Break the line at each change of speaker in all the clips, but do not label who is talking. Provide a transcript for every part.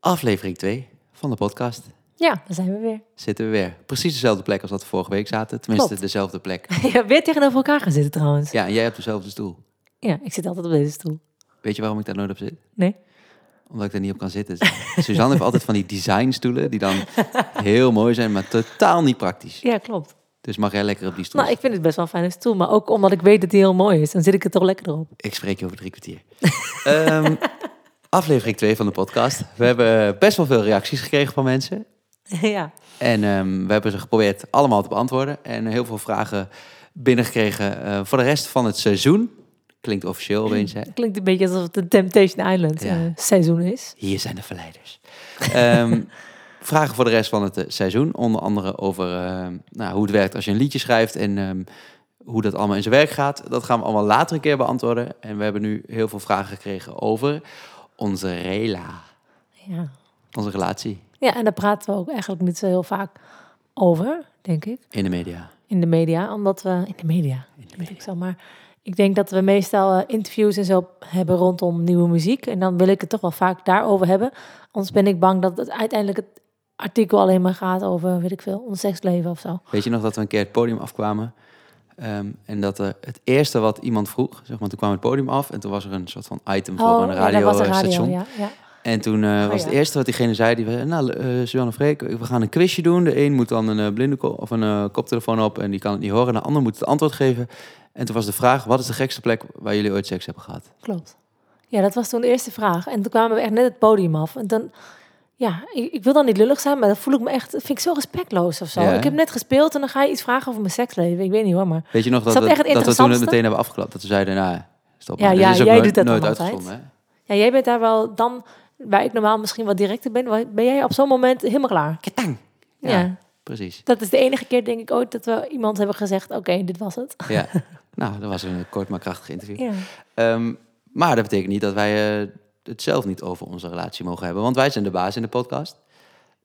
Aflevering 2 van de podcast.
Ja, daar zijn we weer.
Zitten we weer. Precies dezelfde plek als dat we vorige week zaten. Tenminste,
Klopt.
dezelfde plek.
Ja, weer tegenover elkaar gaan zitten trouwens. Ja.
Ja, en jij hebt dezelfde stoel.
ik zit altijd op deze stoel.
Weet je waarom ik daar nooit op zit?
Nee?
Omdat ik daar niet op kan zitten. Dus Suzanne heeft altijd van die designstoelen die dan heel mooi zijn, maar totaal niet praktisch.
Ja, klopt.
Dus mag jij lekker op die stoel?
Nou, ik vind het best wel een fijne stoel. Maar ook omdat ik weet dat die heel mooi is. Dan zit ik er toch lekker op.
Ik spreek je over drie kwartier. Ehm, aflevering 2 van de podcast. We hebben best wel veel reacties gekregen van mensen.
ja.
En ehm, we hebben ze geprobeerd allemaal te beantwoorden. En heel veel vragen binnengekregen eh, voor de rest van het seizoen. Klinkt officieel opeens, hè?
Klinkt een beetje alsof het een Temptation Island
Ja.
eh, seizoen is.
Hier zijn de verleiders. Ehm, vragen voor de rest van het eh, seizoen. Onder andere over ehm, nou, hoe het werkt als je een liedje schrijft. En ehm, hoe dat allemaal in zijn werk gaat. Dat gaan we allemaal later een keer beantwoorden. En we hebben nu heel veel vragen gekregen over onze rela.
Ja.
Onze relatie
ja, en daar praten we ook eigenlijk niet zo heel vaak over, denk ik.
in de media.
In de media. Omdat we... In de media. denk Ik, zo, maar ik denk dat we meestal eh, interviews en zo hebben rondom nieuwe muziek. En dan wil ik het toch wel vaak daarover hebben. Anders ben ik bang dat het uiteindelijk het artikel alleen maar gaat over, weet ik veel, ons seksleven of zo.
Weet je nog dat we een keer het podium afkwamen? Ehm, en dat eh, het eerste wat iemand vroeg, zeg maar, toen kwam het podium af en toen was er een soort van item voor een
Oh, ja, dat was een
radiostation.
ja, ja.
En toen eh, was
ja.
het eerste wat diegene zei, die was, nou, eh Suzanne en Freek, we gaan een quizje doen. De een moet dan een eh, blinde ko- of een eh, koptelefoon op en die kan het niet horen. De ander moet het antwoord geven. En toen was de vraag, wat is de gekste plek waar jullie ooit seks hebben gehad?
Klopt. Ja, dat was toen de eerste vraag. En toen kwamen we echt net het podium af. En dan, ja, ik, ik wil dan niet lullig zijn, maar dan voel ik me echt, dat vind ik zo respectloos of zo.
Ja, hè?
Ik heb net gespeeld en dan ga je iets vragen over mijn seksleven. Ik weet niet hoor, maar
Weet je nog dat,
Is dat
we-
echt het
dat we toen het
interessantste?
meteen hebben afgeklapt? Dat we zeiden, nou, stop
Ja,
maar. Dit
ja,
is ook
jij
nooit,
doet dat dan
nooit
altijd.
uitgezonden, hè?
Ja, jij bent daar wel dan, waar ik normaal misschien wat directer ben, waar- ben jij op zo'n moment helemaal klaar. Ja.
ja, precies.
Dat is de enige keer, denk ik, ooit dat we iemand hebben gezegd, oké, dit was het.
Ja. nou, dat was een kort maar krachtig interview.
Ja.
Ehm, maar dat betekent niet dat wij eh, het zelf niet over onze relatie mogen hebben. Want wij zijn de baas in de podcast.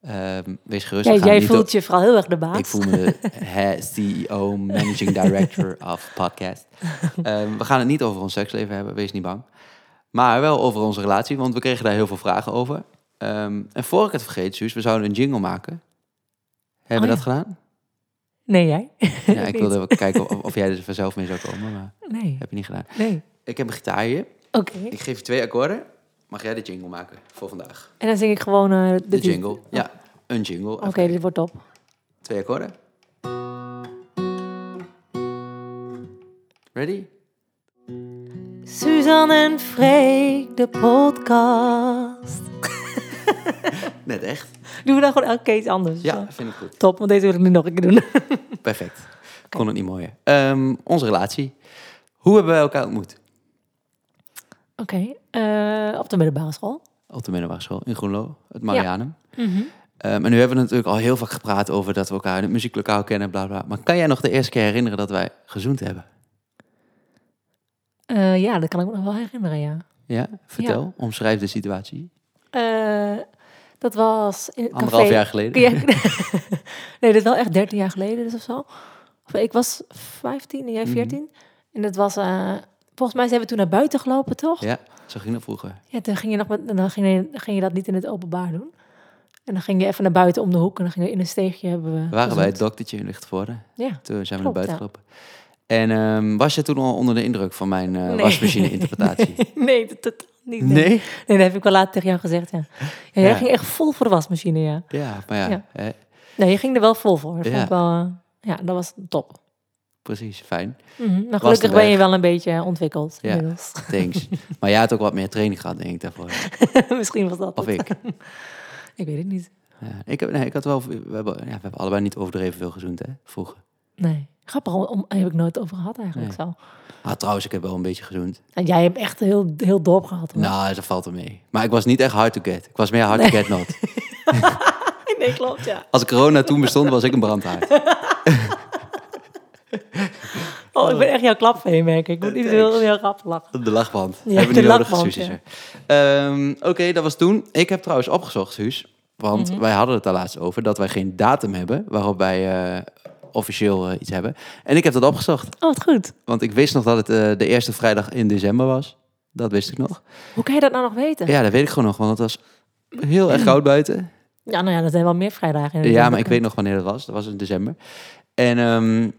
Ehm, wees gerust. we gaan
jij
niet
voelt je vooral heel erg de baas.
op- Ik voel me hè, CEO, E Managing Director of Podcast. Ehm, we gaan het niet over ons seksleven hebben, wees niet bang. Maar wel over onze relatie, want we kregen daar heel veel vragen over. Ehm, en voor ik het vergeet, Suus, we zouden een jingle maken. Hebben we
Oh
dat gedaan?
Nee, jij?
Ja, ik
Niet.
wilde even kijken of, of jij er vanzelf mee zou komen, maar
Nee,
heb je niet gedaan.
nee.
Ik heb een gitaar hier.
Oké,
Ik geef je twee akkoorden. Mag jij de jingle maken voor vandaag?
en dan zing ik gewoon eh, de,
De
lied.
jingle. Ja, een jingle.
Oké,
Even
dit wordt top.
kijken. Twee akkoorden. Ready?
Suzanne en Freek, de podcast.
Net echt.
Doen we dan gewoon elke keer iets anders?
Ja, vind ik goed.
Top, want deze wil ik nu nog een keer doen.
Perfect. Kon het niet mooier. Ehm, onze relatie. Hoe hebben wij elkaar ontmoet?
Oké, eh, op de middelbare school.
Op de middelbare school in Groenlo, het Marianum. Ehm, en nu hebben we natuurlijk al heel vaak gepraat over dat we elkaar in het muzieklokaal kennen, bla bla. Maar kan jij nog de eerste keer herinneren dat wij gezoend hebben?
Eh, ja, dat kan ik me nog wel herinneren, ja.
Ja, vertel. Omschrijf de situatie.
Eh, dat was in het café.
Anderhalf jaar geleden.
Ja, nee, dat is wel echt 13 jaar geleden dus of zo. Of, ik was 15 en
Mhm.
jij 14. En dat was, eh, volgens mij zijn we toen naar buiten gelopen, toch? Ja,
Ja, zo ging dat vroeger.
toen ging je, nog met, en dan ging, je, ging je dat niet in het openbaar doen. En dan ging je even naar buiten om de hoek en dan gingen we in een steegje hebben we...
We waren bij het
gezoend.
doktertje in Lichtenvoorde.
Ja.
Toen zijn we
Klopt,
naar buiten gelopen. En ehm, was je toen al onder de indruk van mijn eh,
Nee.
wasmachine-interpretatie?
nee, dat totaal niet.
Nee?
Nee, dat heb ik wel later tegen jou gezegd, ja. ja jij
Ja.
ging echt vol voor de wasmachine, ja.
Ja, maar ja,
Ja.
hè,
Nee, je ging er wel vol voor. Dat vond
Ja.
ik wel... eh, ja, dat was top.
precies, fijn.
Mhm, Maar
Plastenberg.
gelukkig ben je wel een beetje ontwikkeld Dus
Ja.
inmiddels.
Thanks. maar jij had ook wat meer training gehad, denk ik, daarvoor.
Misschien was dat
Of
het.
ik.
Ik weet het niet.
Ja, ik, heb, nee, ik had wel, we, hebben, ja, we hebben allebei niet overdreven veel gezoend, hè, vroeger.
Nee. Grappig, om, om- heb ik nooit over gehad eigenlijk zo.
Ah, trouwens, ik heb wel een beetje gezoend.
En jij hebt echt heel, heel dorp gehad. hoor.
Nou, dat valt er mee. Maar ik was niet echt hard to get. Ik was meer hard to get not.
Nee, klopt, ja.
Als corona toen bestond, was ik een brandhaard.
Oh, ik ben echt jouw klapvee, merk ik. Ik moet niet heel, heel rap lachen.
De lachband.
Ja,
Hebben we
de
niet nodig,
lachband,
Suus is
ja.
er. Ehm, Oké, dat was toen. Ik heb trouwens opgezocht, Suus. Want
Mhm.
wij hadden het daar laatst over dat wij geen datum hebben waarop wij eh, officieel eh, iets hebben. En ik heb dat opgezocht,
Oh, wat goed.
want ik wist nog dat het eh, de eerste vrijdag in december was. Dat wist ik nog.
Hoe kan je dat nou nog weten?
Ja, dat weet ik gewoon nog, want dat was heel erg koud buiten.
Ja, nou ja, dat zijn wel meer vrijdagen. in de
Ja, maar ik
winter.
weet nog wanneer dat was. Dat was in december. En
Nou,
ehm,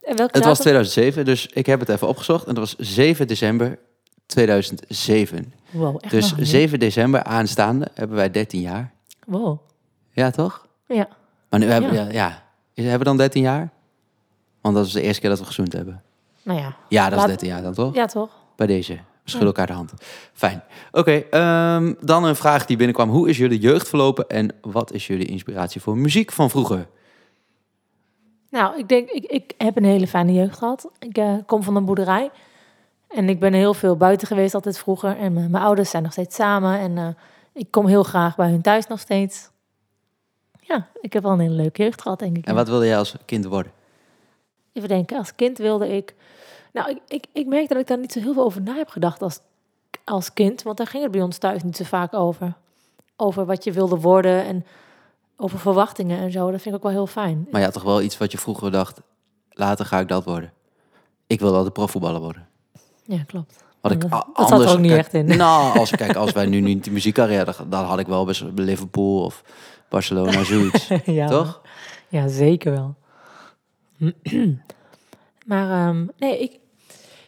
En welke
het was
datum?
2007, dus ik heb het even opgezocht. En dat was 7 december 2007.
Wow, echt
Dus
nog een jaar.
7 december aanstaande hebben wij 13 jaar.
Wow.
Ja, toch?
Ja.
Maar nu hebben
Ja.
ja. ja. Is- Hebben we dan 13 jaar? Want dat is de eerste keer dat we gezoend hebben.
Nou ja.
Ja, dat is
Laat-
13 jaar dan toch?
Ja, toch?
Bij deze. We schudden elkaar de hand. Fijn. Oké, ehm, dan een vraag die binnenkwam. Hoe is jullie jeugd verlopen en wat is jullie inspiratie voor muziek van vroeger?
Nou, ik denk, ik, ik heb een hele fijne jeugd gehad. Ik eh, kom van een boerderij. En ik ben heel veel buiten geweest altijd vroeger. En eh, mijn- mijn ouders zijn nog steeds samen. En eh, ik kom heel graag bij hun thuis nog steeds. Ja, ik heb wel een hele leuke jeugd gehad, denk ik.
En wat wilde jij als kind worden?
Even denken, als kind wilde ik... Nou, ik, ik, ik merk dat ik daar niet zo heel veel over na heb gedacht als, als kind. Want daar ging het bij ons thuis niet zo vaak over. Over wat je wilde worden en over verwachtingen en zo. Dat vind ik ook wel heel fijn.
Maar je had toch wel iets wat je vroeger dacht, later ga ik dat worden. Ik wil altijd profvoetballer worden.
Ja, klopt.
Wat ik
Dat-
a-
dat zat
anders
er ook niet
kijk,
echt in.
Nou, als, kijk, als wij nu niet de muziekcarrière, dan- dan had ik wel best bij Liverpool of Barcelona zoiets.
ja,
toch?
Ja, zeker wel. maar ehm, nee, ik,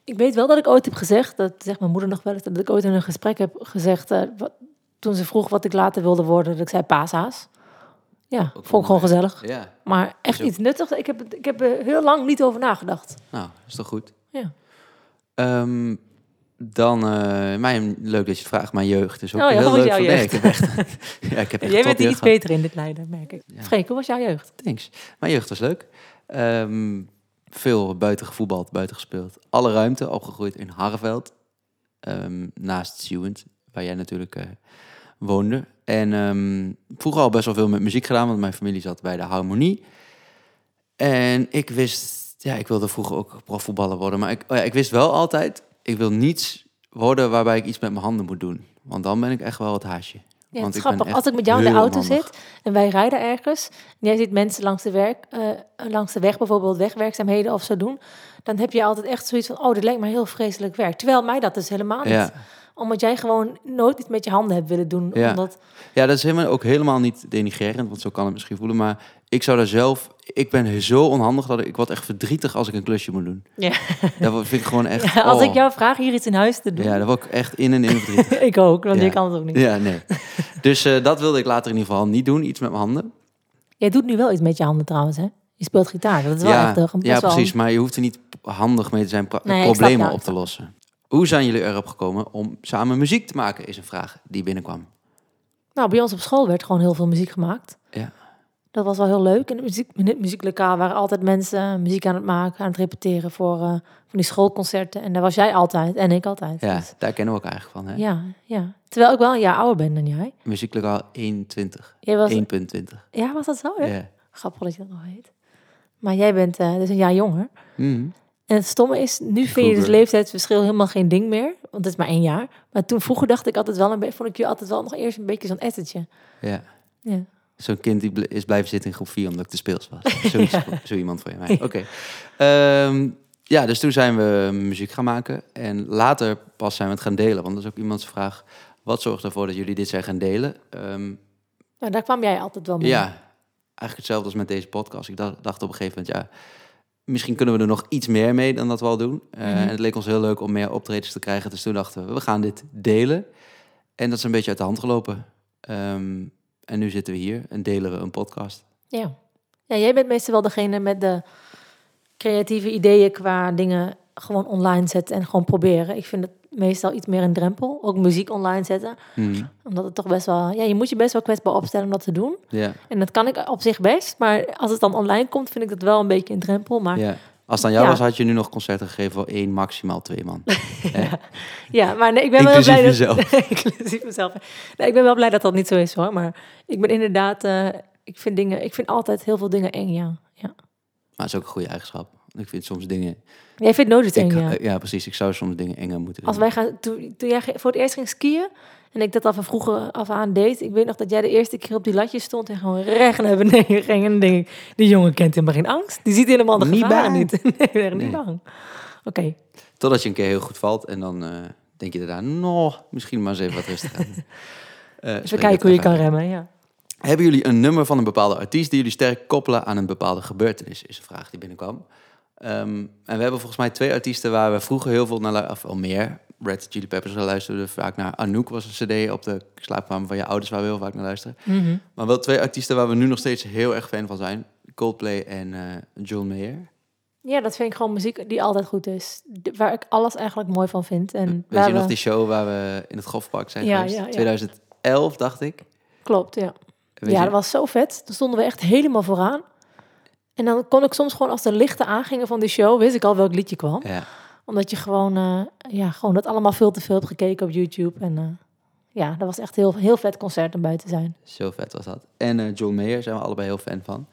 ik weet wel dat ik ooit heb gezegd, dat zegt mijn moeder nog wel eens, dat ik ooit in een gesprek heb gezegd, eh, wat, toen ze vroeg wat ik later wilde worden, dat ik zei pasa's. Ja,
Ook
vond ik gewoon gezellig.
Ja,
Maar echt
Is ook-
iets nuttigs, ik heb, ik heb er heel lang niet over nagedacht.
nou, is toch goed?
Ja.
Ehm, dan, eh mijn, leuk dat je het vraagt, mijn jeugd is ook
Oh ja,
heel
hoe
leuk.
was jouw
voor- nee,
jeugd?
ik heb echt, ja, ik heb echt
Jij
top
bent
jeugd
iets
gehad.
beter in dit leiden, merk ik.
Ja.
Freek, hoe was jouw jeugd?
Thanks. Mijn jeugd was leuk. Ehm, veel buiten gevoetbald, buiten gespeeld. Alle ruimte opgegroeid in Harreveld. Ehm, naast Zieuwent, waar jij natuurlijk eh, woonde. En ehm, vroeger al best wel veel met muziek gedaan, want mijn familie zat bij de harmonie. En ik wist, ja, ik wilde vroeger ook profvoetballer worden. Maar ik, oh ja, ik wist wel altijd, ik wil niets worden waarbij ik iets met mijn handen moet doen. Want dan ben ik echt wel het haasje.
Ja,
Want
het
ik
is
ben
grappig.
echt
Als ik met jou in de
heel
auto
onhandig.
zit en wij rijden ergens... en jij ziet mensen langs de, werk, eh, langs de weg bijvoorbeeld wegwerkzaamheden of zo doen... dan heb je altijd echt zoiets van... oh, dit lijkt me heel vreselijk werk. Terwijl mij dat dus helemaal niet.
Ja.
Omdat jij gewoon nooit iets met je handen hebt willen doen.
Ja.
Omdat,
Ja, dat is helemaal, ook helemaal niet denigrerend, want zo kan het misschien voelen. Maar ik zou daar zelf... Ik ben zo onhandig dat ik, ik word echt verdrietig als ik een klusje moet doen.
Ja.
Dat word- vind ik gewoon echt...
als
oh.
ik jou vraag hier iets in huis te doen...
Ja, daar word ik echt in en in verdrietig.
ik ook, want
Ja.
je kan het ook niet.
Ja, nee. Dus eh, dat wilde ik later in ieder geval niet doen. Iets met mijn handen.
Jij doet nu wel iets met je handen trouwens, hè? Je speelt gitaar, dat is wel
ja,
echt... eh, best
ja,
wel-
precies. Maar je hoeft er niet handig mee te zijn pra-
Nee, ik snap
problemen
jou,
op
ik
te lossen. Hoe zijn jullie erop gekomen om samen muziek te maken, is een vraag die binnenkwam.
Nou, bij ons op school werd gewoon heel veel muziek gemaakt.
Ja.
Dat was wel heel leuk. In het, muziek, in het muzieklokaal waren altijd mensen eh, muziek aan het maken, aan het repeteren voor eh, van die schoolconcerten. En daar was jij altijd en ik altijd.
Ja,
Dus,
daar kennen we elkaar eigenlijk van. Hè?
ja, ja. Terwijl ik wel een jaar ouder ben dan jij.
Muzieklokaal 21.
jij was,
1.20.
ja, was dat zo?
Ja.
Hè? Grappig dat je dat nog weet. Maar jij bent eh, dus een jaar jonger.
Mhm.
En het stomme is, nu vind je
Vroeger.
het leeftijdsverschil helemaal geen ding meer. Want het is maar één jaar. Maar toen vroeger dacht ik altijd wel, een be- vond ik je altijd wel nog eerst een beetje zo'n ettertje.
Ja.
Ja.
Zo'n kind die bl- is blijven zitten in groep 4 omdat ik te speels was. Zo, zo iemand van je mij.
Ja.
Oké. Ehm, ja, dus toen zijn we muziek gaan maken. En later pas zijn we het gaan delen. Want dat is ook iemands vraag. Wat zorgt ervoor dat jullie dit zijn gaan delen? Ehm,
Maar Nou, daar kwam jij altijd wel mee.
ja, eigenlijk hetzelfde als met deze podcast. Ik dacht, dacht op een gegeven moment, ja, misschien kunnen we er nog iets meer mee dan dat we al doen. Eh,
Mhm.
En het leek ons heel leuk om meer optredens te krijgen. Dus toen dachten we, we gaan dit delen. En dat is een beetje uit de hand gelopen. Ehm, en nu zitten we hier en delen we een podcast.
Ja. ja, jij bent meestal wel degene met de creatieve ideeën qua dingen gewoon online zetten en gewoon proberen. Ik vind het meestal iets meer een drempel. Ook muziek online zetten.
Mhm.
Omdat het toch best wel... Ja, je moet je best wel kwetsbaar opstellen om dat te doen.
Ja,
En dat kan ik op zich best. Maar als het dan online komt, vind ik dat wel een beetje een drempel. Maar ja,
ja. Als het aan jou
Ah. Ja.
was, had je nu nog concerten gegeven voor één, maximaal twee man.
maar nee, ik ben wel
Inclusief
blij...
jezelf.
Dat, inclusief mezelf. Nee, ik ben wel blij dat dat niet zo is hoor. Maar ik ben inderdaad... eh, ik, vind dingen, ik vind altijd heel veel dingen eng, ja. ja.
Maar het is ook een goede eigenschap. Ik vind soms dingen...
Jij vindt nooit iets eng,
ik, eh,
ja.
ja. precies. Ik zou soms dingen enger moeten
Als
doen.
wij gaan, toen, toen jij ge- voor het eerst ging skiën en ik dat al van vroeger af aan deed, ik weet nog dat jij de eerste keer op die latjes stond en gewoon recht naar beneden ging. En dan denk ik, die jongen kent helemaal geen angst. Die ziet helemaal de
Niet
gevaren
bang.
niet. Nee, ik ben echt niet
Nee.
bang. Oké,
Totdat je een keer heel goed valt en dan eh, denk je daarna, nou, misschien maar eens even wat rustiger. doen."
Dus we kijken hoe je kan remmen, ja.
Hebben jullie een nummer van een bepaalde artiest die jullie sterk koppelen aan een bepaalde gebeurtenis? Is een vraag die binnenkwam. Ehm, en we hebben volgens mij twee artiesten waar we vroeger heel veel naar luisterden, of al meer. Red Chili Peppers we luisterden vaak naar. Anouk was een cd op de slaapkamer van je ouders waar we heel vaak naar luisteren.
Mhm.
Maar wel twee artiesten waar we nu nog steeds heel erg fan van zijn. Coldplay en eh, John Mayer.
Ja, dat vind ik gewoon muziek die altijd goed is. De- Waar ik alles eigenlijk mooi van vind. En eh,
Weet
waar
je nog
we-
die show waar we in het Grofpark zijn
Ja,
geweest?
ja, ja.
2011 dacht ik.
Klopt, ja.
Weet
ja,
je-
dat was zo vet. Toen stonden we echt helemaal vooraan. En dan kon ik soms gewoon als de lichten aangingen van die show, wist ik al welk liedje kwam.
ja.
Omdat je gewoon, eh, ja, gewoon dat allemaal veel te veel hebt gekeken op YouTube. En eh, ja, dat was echt heel, heel vet concert om bij te zijn.
Zo vet was dat. En eh, John Mayer zijn we allebei heel fan van.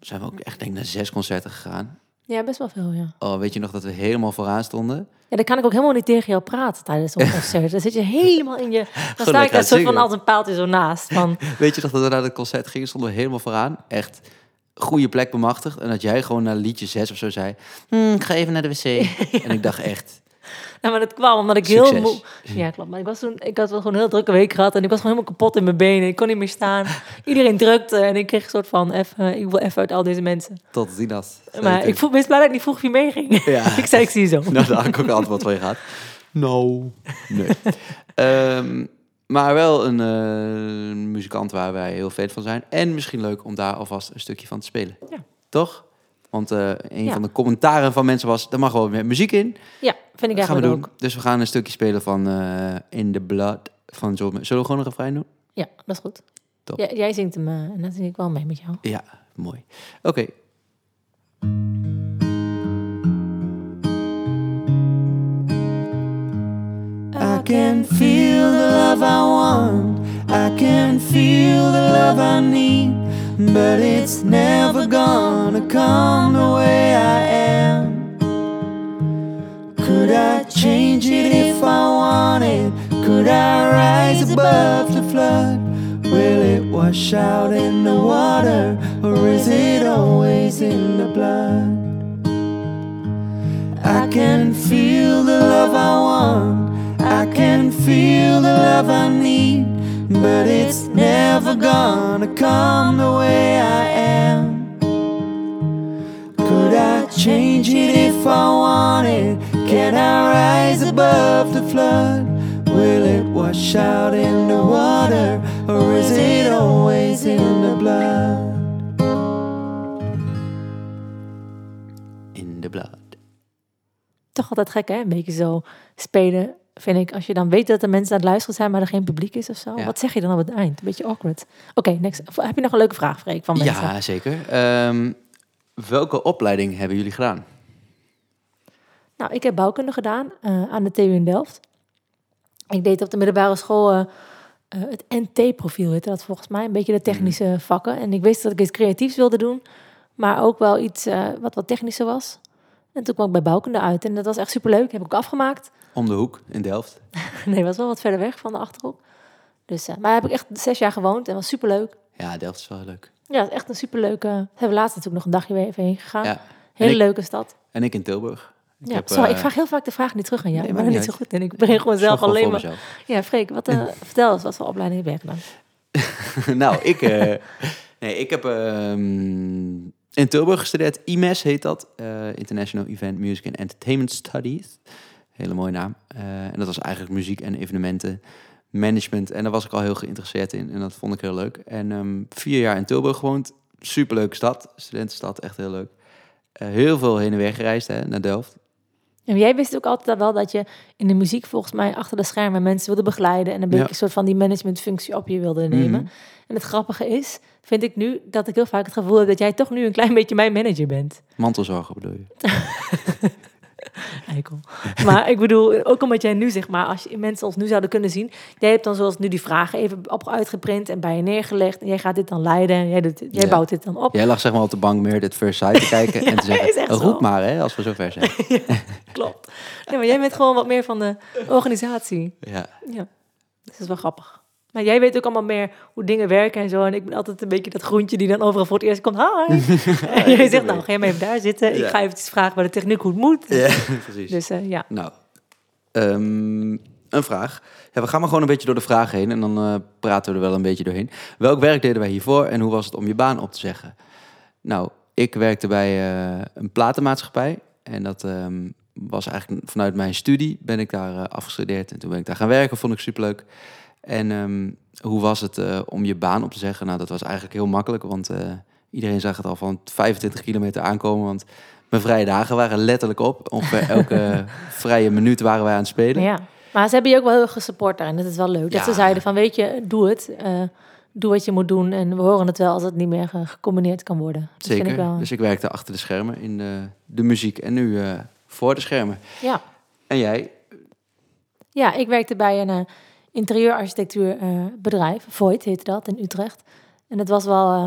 Zijn we ook echt denk ik naar zes concerten gegaan.
Ja, best wel veel, ja.
Oh, weet je nog dat we helemaal vooraan stonden?
Ja, dan kan ik ook helemaal niet tegen jou praten tijdens zo'n concert. Dan zit je helemaal in je... Dan
lekker
sta
aan
ik
het
daar soort van
zingen.
als een paaltje zo naast. Van,
Weet je nog dat we naar dat concert gingen, stonden we helemaal vooraan. Echt goede plek bemachtigd. En dat jij gewoon naar liedje 6 of zo zei... "Hmm, ik ga even naar de wc. En ik dacht echt...
Nou, maar dat kwam omdat ik heel
Succes.
moe... Ja, klopt. Maar ik, was toen, ik had wel gewoon een heel drukke week gehad. En ik was gewoon helemaal kapot in mijn benen. Ik kon niet meer staan. Iedereen drukte. En ik kreeg een soort van... Even, ik wil even uit al deze mensen.
Tot die dat.
Maar ik voel, ben blij dat ik niet vroeg wie meeging.
Ja.
ik zei, ik zie zo.
Nou, daar had ik ook een antwoord van je gehad. No. Nee. Ehm, maar wel een eh, muzikant waar wij heel fan van zijn. En misschien leuk om daar alvast een stukje van te spelen.
Ja.
Toch? Want eh, een
Ja.
van de commentaren van mensen was... er mag wel meer muziek in.
Ja, vind
Dat gaan we
ik eigenlijk
doen.
ook.
Dus we gaan een stukje spelen van eh, In the Blood van John Mayer. Zullen we gewoon een refrein doen?
Ja, dat is goed.
Top.
Ja, jij zingt hem eh, en dan zing ik wel mee met jou.
Ja, mooi. Oké. I can feel the love I want. I can feel the love I need. But it's never gonna come the way I am. Could I change it if I wanted? Could I rise above the flood? Will it wash out in the water? Or is it always in the blood? I can feel the love I want. I can feel the love I need. But it's never gonna come the way I am. Could I change it if I wanted? Can I rise above the flood? Will it wash out in the water? Or is it always in the blood? In the blood.
Toch altijd gek, hè? Een beetje zo spelen, vind ik. Als je dan weet dat de mensen aan het luisteren zijn, maar er geen publiek is of zo.
Ja.
Wat zeg je dan op het eind? Een beetje awkward. Oké, next. Heb je nog een leuke vraag, Freek, van mensen?
Ja, zeker. Ehm, welke opleiding hebben jullie gedaan?
Nou, ik heb bouwkunde gedaan eh, aan de TU in Delft. Ik deed op de middelbare school eh, eh, het NT-profiel, heette dat volgens mij. Een beetje
Hmm.
de technische vakken. En ik wist dat ik iets creatiefs wilde doen, maar ook wel iets eh, wat wat technischer was. En toen kwam ik bij bouwkunde uit en dat was echt superleuk. Heb ik ook afgemaakt.
Om de hoek in Delft.
nee, was wel wat verder weg van de Achterhoek. Dus, eh, maar heb ik echt zes jaar gewoond en was superleuk.
Ja, Delft is wel leuk.
Ja, het is echt een superleuke... Hebben we laatst natuurlijk nog een dagje weer even heen gegaan.
Ja.
Hele
ik-
leuke stad.
En ik in Tilburg.
Ja,
heb,
sorry,
eh,
ik vraag heel vaak de vraag niet terug aan jou.
nee,
ik
maakt
ben er niet
niet
zo goed in. Ik begin gewoon
zorg
zelf
gewoon
alleen
voor
maar. Ja, Freek, wat, eh, vertel eens wat voor opleiding heb jij gedaan?
mezelf. nou, ik, eh, nee, ik heb ehm, in Tilburg gestudeerd. IMES heet dat. eh, International Event Music and Entertainment Studies. Hele mooie naam. Eh, en dat was eigenlijk muziek en evenementen. Management. En daar was ik al heel geïnteresseerd in. En dat vond ik heel leuk. En ehm, vier jaar in Tilburg gewoond. Superleuke stad. Studentenstad. Echt heel leuk. Eh, heel veel heen en weer gereisd hè, naar Delft.
En jij wist ook altijd wel dat je in de muziek volgens mij achter de schermen mensen wilde begeleiden en een beetje
Ja.
een soort van die managementfunctie op je wilde nemen.
Mhm.
En het grappige is, vind ik nu, dat ik heel vaak het gevoel heb dat jij toch nu een klein beetje mijn manager bent.
Mantelzorger bedoel je?
Eikel. Maar ik bedoel, ook omdat jij nu zeg maar, als je mensen ons nu zouden kunnen zien, jij hebt dan zoals nu die vragen even op uitgeprint en bij je neergelegd en jij gaat dit dan leiden en jij, doet dit- jij
Ja.
bouwt dit dan op.
Jij lag zeg maar op de bank meer dit first sight te kijken en te
is
zeggen, "Oh,
echt
roep
zo.
maar hè, als we zover zijn.
Klopt. Nee, maar jij bent gewoon wat meer van de organisatie.
ja.
Ja, dus dat is wel grappig. Maar jij weet ook allemaal meer hoe dingen werken en zo. En ik ben altijd een beetje dat groentje die dan overal voor het eerst komt. Hi! en jij zegt, nou, ga jij maar even daar zitten.
Ja.
Ik ga even vragen bij de techniek hoe het moet.
ja, precies.
Dus eh, ja,
Nou, ehm, een vraag. Ja, we gaan maar gewoon een beetje door de vragen heen en dan eh, praten we er wel een beetje doorheen. Welk werk deden wij hiervoor en hoe was het om je baan op te zeggen? Nou, ik werkte bij eh, een platenmaatschappij en dat ehm, was eigenlijk vanuit mijn studie ben ik daar eh, afgestudeerd en toen ben ik daar gaan werken, vond ik superleuk. En ehm, hoe was het eh, om je baan op te zeggen? Nou, dat was eigenlijk heel makkelijk, want eh, iedereen zag het al van 25 kilometer aankomen, want mijn vrije dagen waren letterlijk op. Ongeveer elke vrije minuut waren wij aan het spelen.
Ja. Maar ze hebben je ook wel heel erg gesupport daarin. Dat is wel leuk. Dat
Ja.
ze zeiden van, weet je, doe het. eh, doe wat je moet doen. En we horen het wel als het niet meer eh, gecombineerd kan worden. Dat
Zeker.
vind ik wel.
Dus ik werkte achter de schermen in de, de muziek en nu eh, voor de schermen.
Ja.
En jij?
Ja, ik werkte bij een eh, interieurarchitectuurbedrijf. Voigt heette dat, in Utrecht. En dat was wel eh,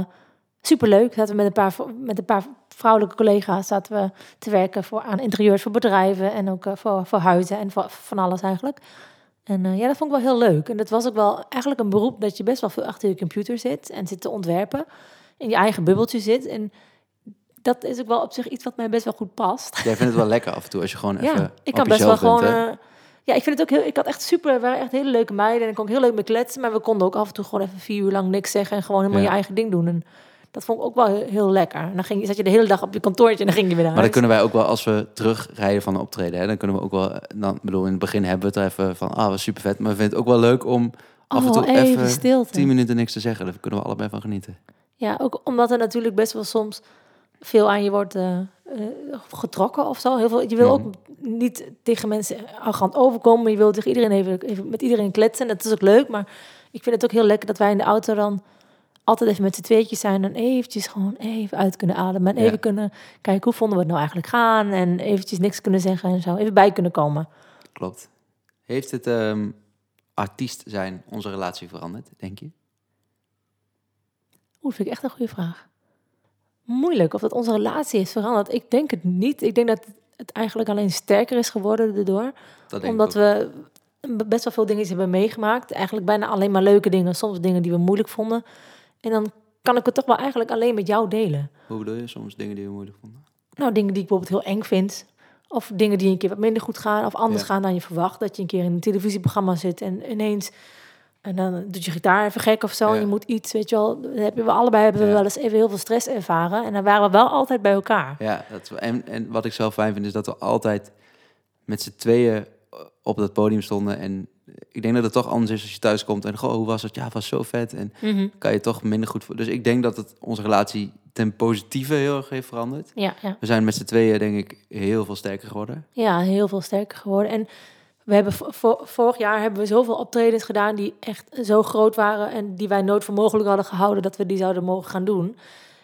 superleuk. Zaten we met een paar, vrou- met een paar vrouwelijke collega's zaten we te werken voor, aan interieurs voor bedrijven. En ook eh, voor, voor huizen en voor, van alles eigenlijk. En eh, ja, dat vond ik wel heel leuk. En dat was ook wel eigenlijk een beroep dat je best wel veel achter je computer zit. En zit te ontwerpen. In je eigen bubbeltje zit. En dat is ook wel op zich iets wat mij best wel goed past.
Jij vindt het wel lekker af en toe als je gewoon even
Ja, ik
op
kan best wel
jezelf
gewoon.
bent, hè?
eh, ja, ik vind het ook heel. Ik had echt super. We waren echt hele leuke meiden. En ik kon ik heel leuk mee kletsen. Maar we konden ook af en toe gewoon even vier uur lang niks zeggen. En gewoon helemaal
Ja.
je eigen ding doen. En dat vond ik ook wel heel, heel lekker. En dan ging, je- zat je de hele dag op je kantoortje. En dan ging je weer naar
maar dan
huis.
kunnen wij ook wel, als we terugrijden van een optreden, hè, dan kunnen we ook wel, eh, dan, ik bedoel, in het begin hebben we het er even van, ah, was super vet. Maar we vinden het ook wel leuk om af en
Oh,
toe
even
even
stilte.
tien minuten niks te zeggen. Daar kunnen we allebei van genieten.
Ja, ook omdat er natuurlijk best wel soms veel aan je wordt eh, eh, getrokken of zo. Heel veel, je wil
Mhm.
ook niet tegen mensen arrogant overkomen. maar Je wil tegen iedereen even, even met iedereen kletsen. Dat is ook leuk, maar ik vind het ook heel lekker dat wij in de auto dan altijd even met z'n tweetjes zijn. En eventjes gewoon even uit kunnen ademen. En
Ja.
even kunnen kijken hoe vonden we het nou eigenlijk gaan. En eventjes niks kunnen zeggen en zo. Even bij kunnen komen.
Klopt. Heeft het ehm, artiest zijn onze relatie veranderd, denk je?
Oeh, vind ik echt een goede vraag. Moeilijk of dat onze relatie is veranderd. Ik denk het niet. Ik denk dat het eigenlijk alleen sterker is geworden daardoor.
Dat denk
Omdat
ik ook.
we best wel veel dingetjes hebben meegemaakt. Eigenlijk bijna alleen maar leuke dingen. Soms dingen die we moeilijk vonden. En dan kan ik het toch wel eigenlijk alleen met jou delen.
Hoe bedoel je soms dingen die we moeilijk vonden?
Nou, dingen die ik bijvoorbeeld heel eng vind. Of dingen die een keer wat minder goed gaan. Of anders
Ja.
gaan dan je verwacht. Dat je een keer in een televisieprogramma zit en ineens... En dan doet je gitaar even gek of zo.
Ja.
En je moet iets, weet je wel. Dan Hebben we allebei hebben we
Ja.
wel eens even heel veel stress ervaren. En dan waren we wel altijd bij elkaar.
Ja, dat, we- en, en wat ik zelf fijn vind is dat we altijd met z'n tweeën op dat podium stonden. En ik denk dat het toch anders is als je thuis komt en goh, hoe was het? Ja, het was zo vet. En kan je toch minder goed voor. Dus ik denk dat het onze relatie ten positieve heel erg heeft veranderd.
Ja, ja.
We zijn met z'n tweeën, denk ik, heel veel sterker geworden.
Ja, heel veel sterker geworden. En we hebben vo- vo- vorig jaar hebben we zoveel optredens gedaan die echt zo groot waren en die wij nooit voor mogelijk hadden gehouden dat we die zouden mogen gaan doen.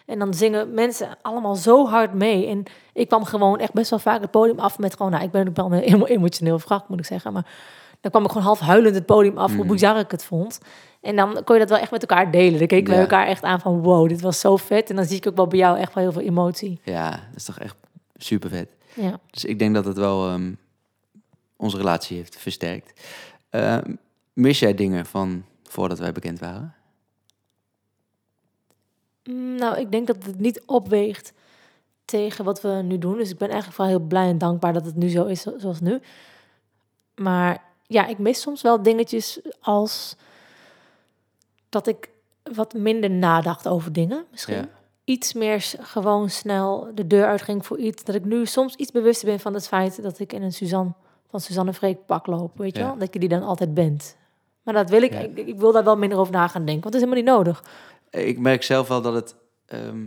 En dan zingen mensen allemaal zo hard mee. En ik kwam gewoon echt best wel vaak het podium af met gewoon, nou, ik ben ook wel een emo- emotioneel vracht, moet ik zeggen. Maar dan kwam ik gewoon half huilend het podium af, hoe bizar ik het vond. En dan kon je dat wel echt met elkaar delen. Dan keken we
Ja.
elkaar echt aan van, wow, dit was zo vet. En dan zie ik ook wel bij jou echt wel heel veel emotie.
Ja, dat is toch echt super vet.
Ja.
Dus ik denk dat het wel ehm, onze relatie heeft versterkt. Ehm, mis jij dingen van voordat wij bekend waren?
Mm, Nou, ik denk dat het niet opweegt tegen wat we nu doen. Dus ik ben eigenlijk wel heel blij en dankbaar dat het nu zo is zo- zoals nu. Maar ja, ik mis soms wel dingetjes als dat ik wat minder nadacht over dingen misschien.
Ja.
Iets meer s- gewoon snel de deur uitging voor iets. Dat ik nu soms iets bewuster ben van het feit dat ik in een Suzanne van Suzanne Freek pak loop. Weet je
Ja.
wel? Dat je die dan altijd bent. Maar dat wil ik,
Ja.
ik, ik wil daar wel minder over na gaan denken. Want dat is helemaal niet nodig.
Ik merk zelf wel dat het. ehm,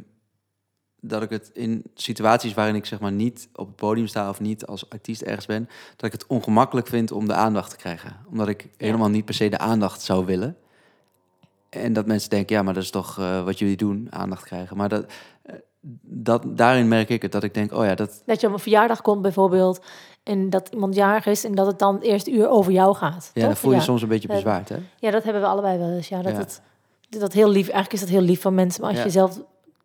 dat ik het in situaties waarin ik zeg maar niet op het podium sta of niet als artiest ergens ben, dat ik het ongemakkelijk vind om de aandacht te krijgen. Omdat ik helemaal niet per se de aandacht zou willen. En dat mensen denken, ja, maar dat is toch eh, wat jullie doen, aandacht krijgen. Maar dat, eh, dat, daarin merk ik het, dat ik denk, oh ja, dat,
Dat je op een verjaardag komt bijvoorbeeld en dat iemand jarig is en dat het dan het eerste uur over jou gaat.
ja,
toch?
dan voel je
ja.
soms een beetje
Ja.
bezwaard, hè?
Ja, dat hebben we allebei wel eens. Ja, dat
Ja.
het dat heel lief. Eigenlijk is dat heel lief van mensen, maar als
Ja.
je zelf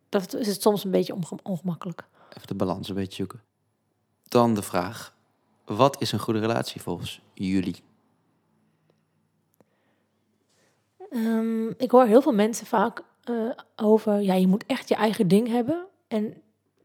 dat is het soms een beetje onge- ongemakkelijk.
Even de balans een beetje zoeken. Dan de vraag, wat is een goede relatie volgens jullie?
Ehm, ik hoor heel veel mensen vaak eh, over, ja, je moet echt je eigen ding hebben. En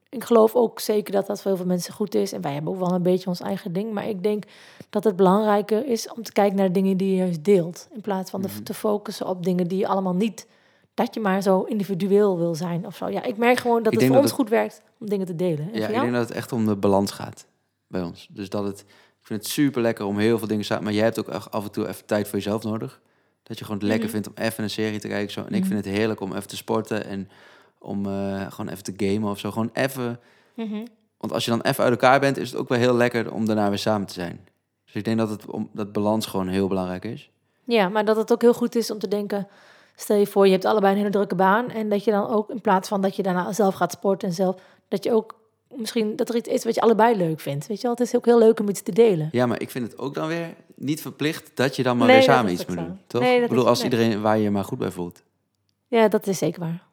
ik geloof ook zeker dat dat voor heel veel mensen goed is. En wij hebben ook wel een beetje ons eigen ding. Maar ik denk dat het belangrijker is om te kijken naar de dingen die je juist deelt. In plaats van de-
Mhm.
te focussen op dingen die je allemaal niet. Dat je maar zo individueel wil zijn of zo. Ja, ik merk gewoon dat
Ik
het
denk
voor
dat
ons
het-
goed werkt om dingen te delen.
Ja,
En voor
ik
jou?
denk dat het echt om de balans gaat bij ons. Dus dat het, ik vind het super lekker om heel veel dingen samen. Maar jij hebt ook echt af en toe even tijd voor jezelf nodig. Dat je gewoon het lekker
Mhm.
vindt om even een serie te kijken. Zo. En ik
Mhm.
vind het heerlijk om even te sporten en om eh, gewoon even te gamen of zo. Gewoon even.
Mhm.
Want als je dan even uit elkaar bent, is het ook wel heel lekker om daarna weer samen te zijn. Dus ik denk dat het om dat balans gewoon heel belangrijk is.
Ja, maar dat het ook heel goed is om te denken. Stel je voor, je hebt allebei een hele drukke baan. En dat je dan ook, in plaats van dat je daarna zelf gaat sporten en zelf, dat je ook misschien dat er iets is wat je allebei leuk vindt. Weet je wel, het is ook heel leuk om iets te delen.
Ja, maar ik vind het ook dan weer niet verplicht dat je dan maar
Nee,
weer
dat
samen
is
iets
ook
moet
zo.
doen. Toch?
Nee, dat
ik bedoel,
is-
als
nee.
iedereen waar je je maar goed bij voelt.
Ja, dat is zeker waar.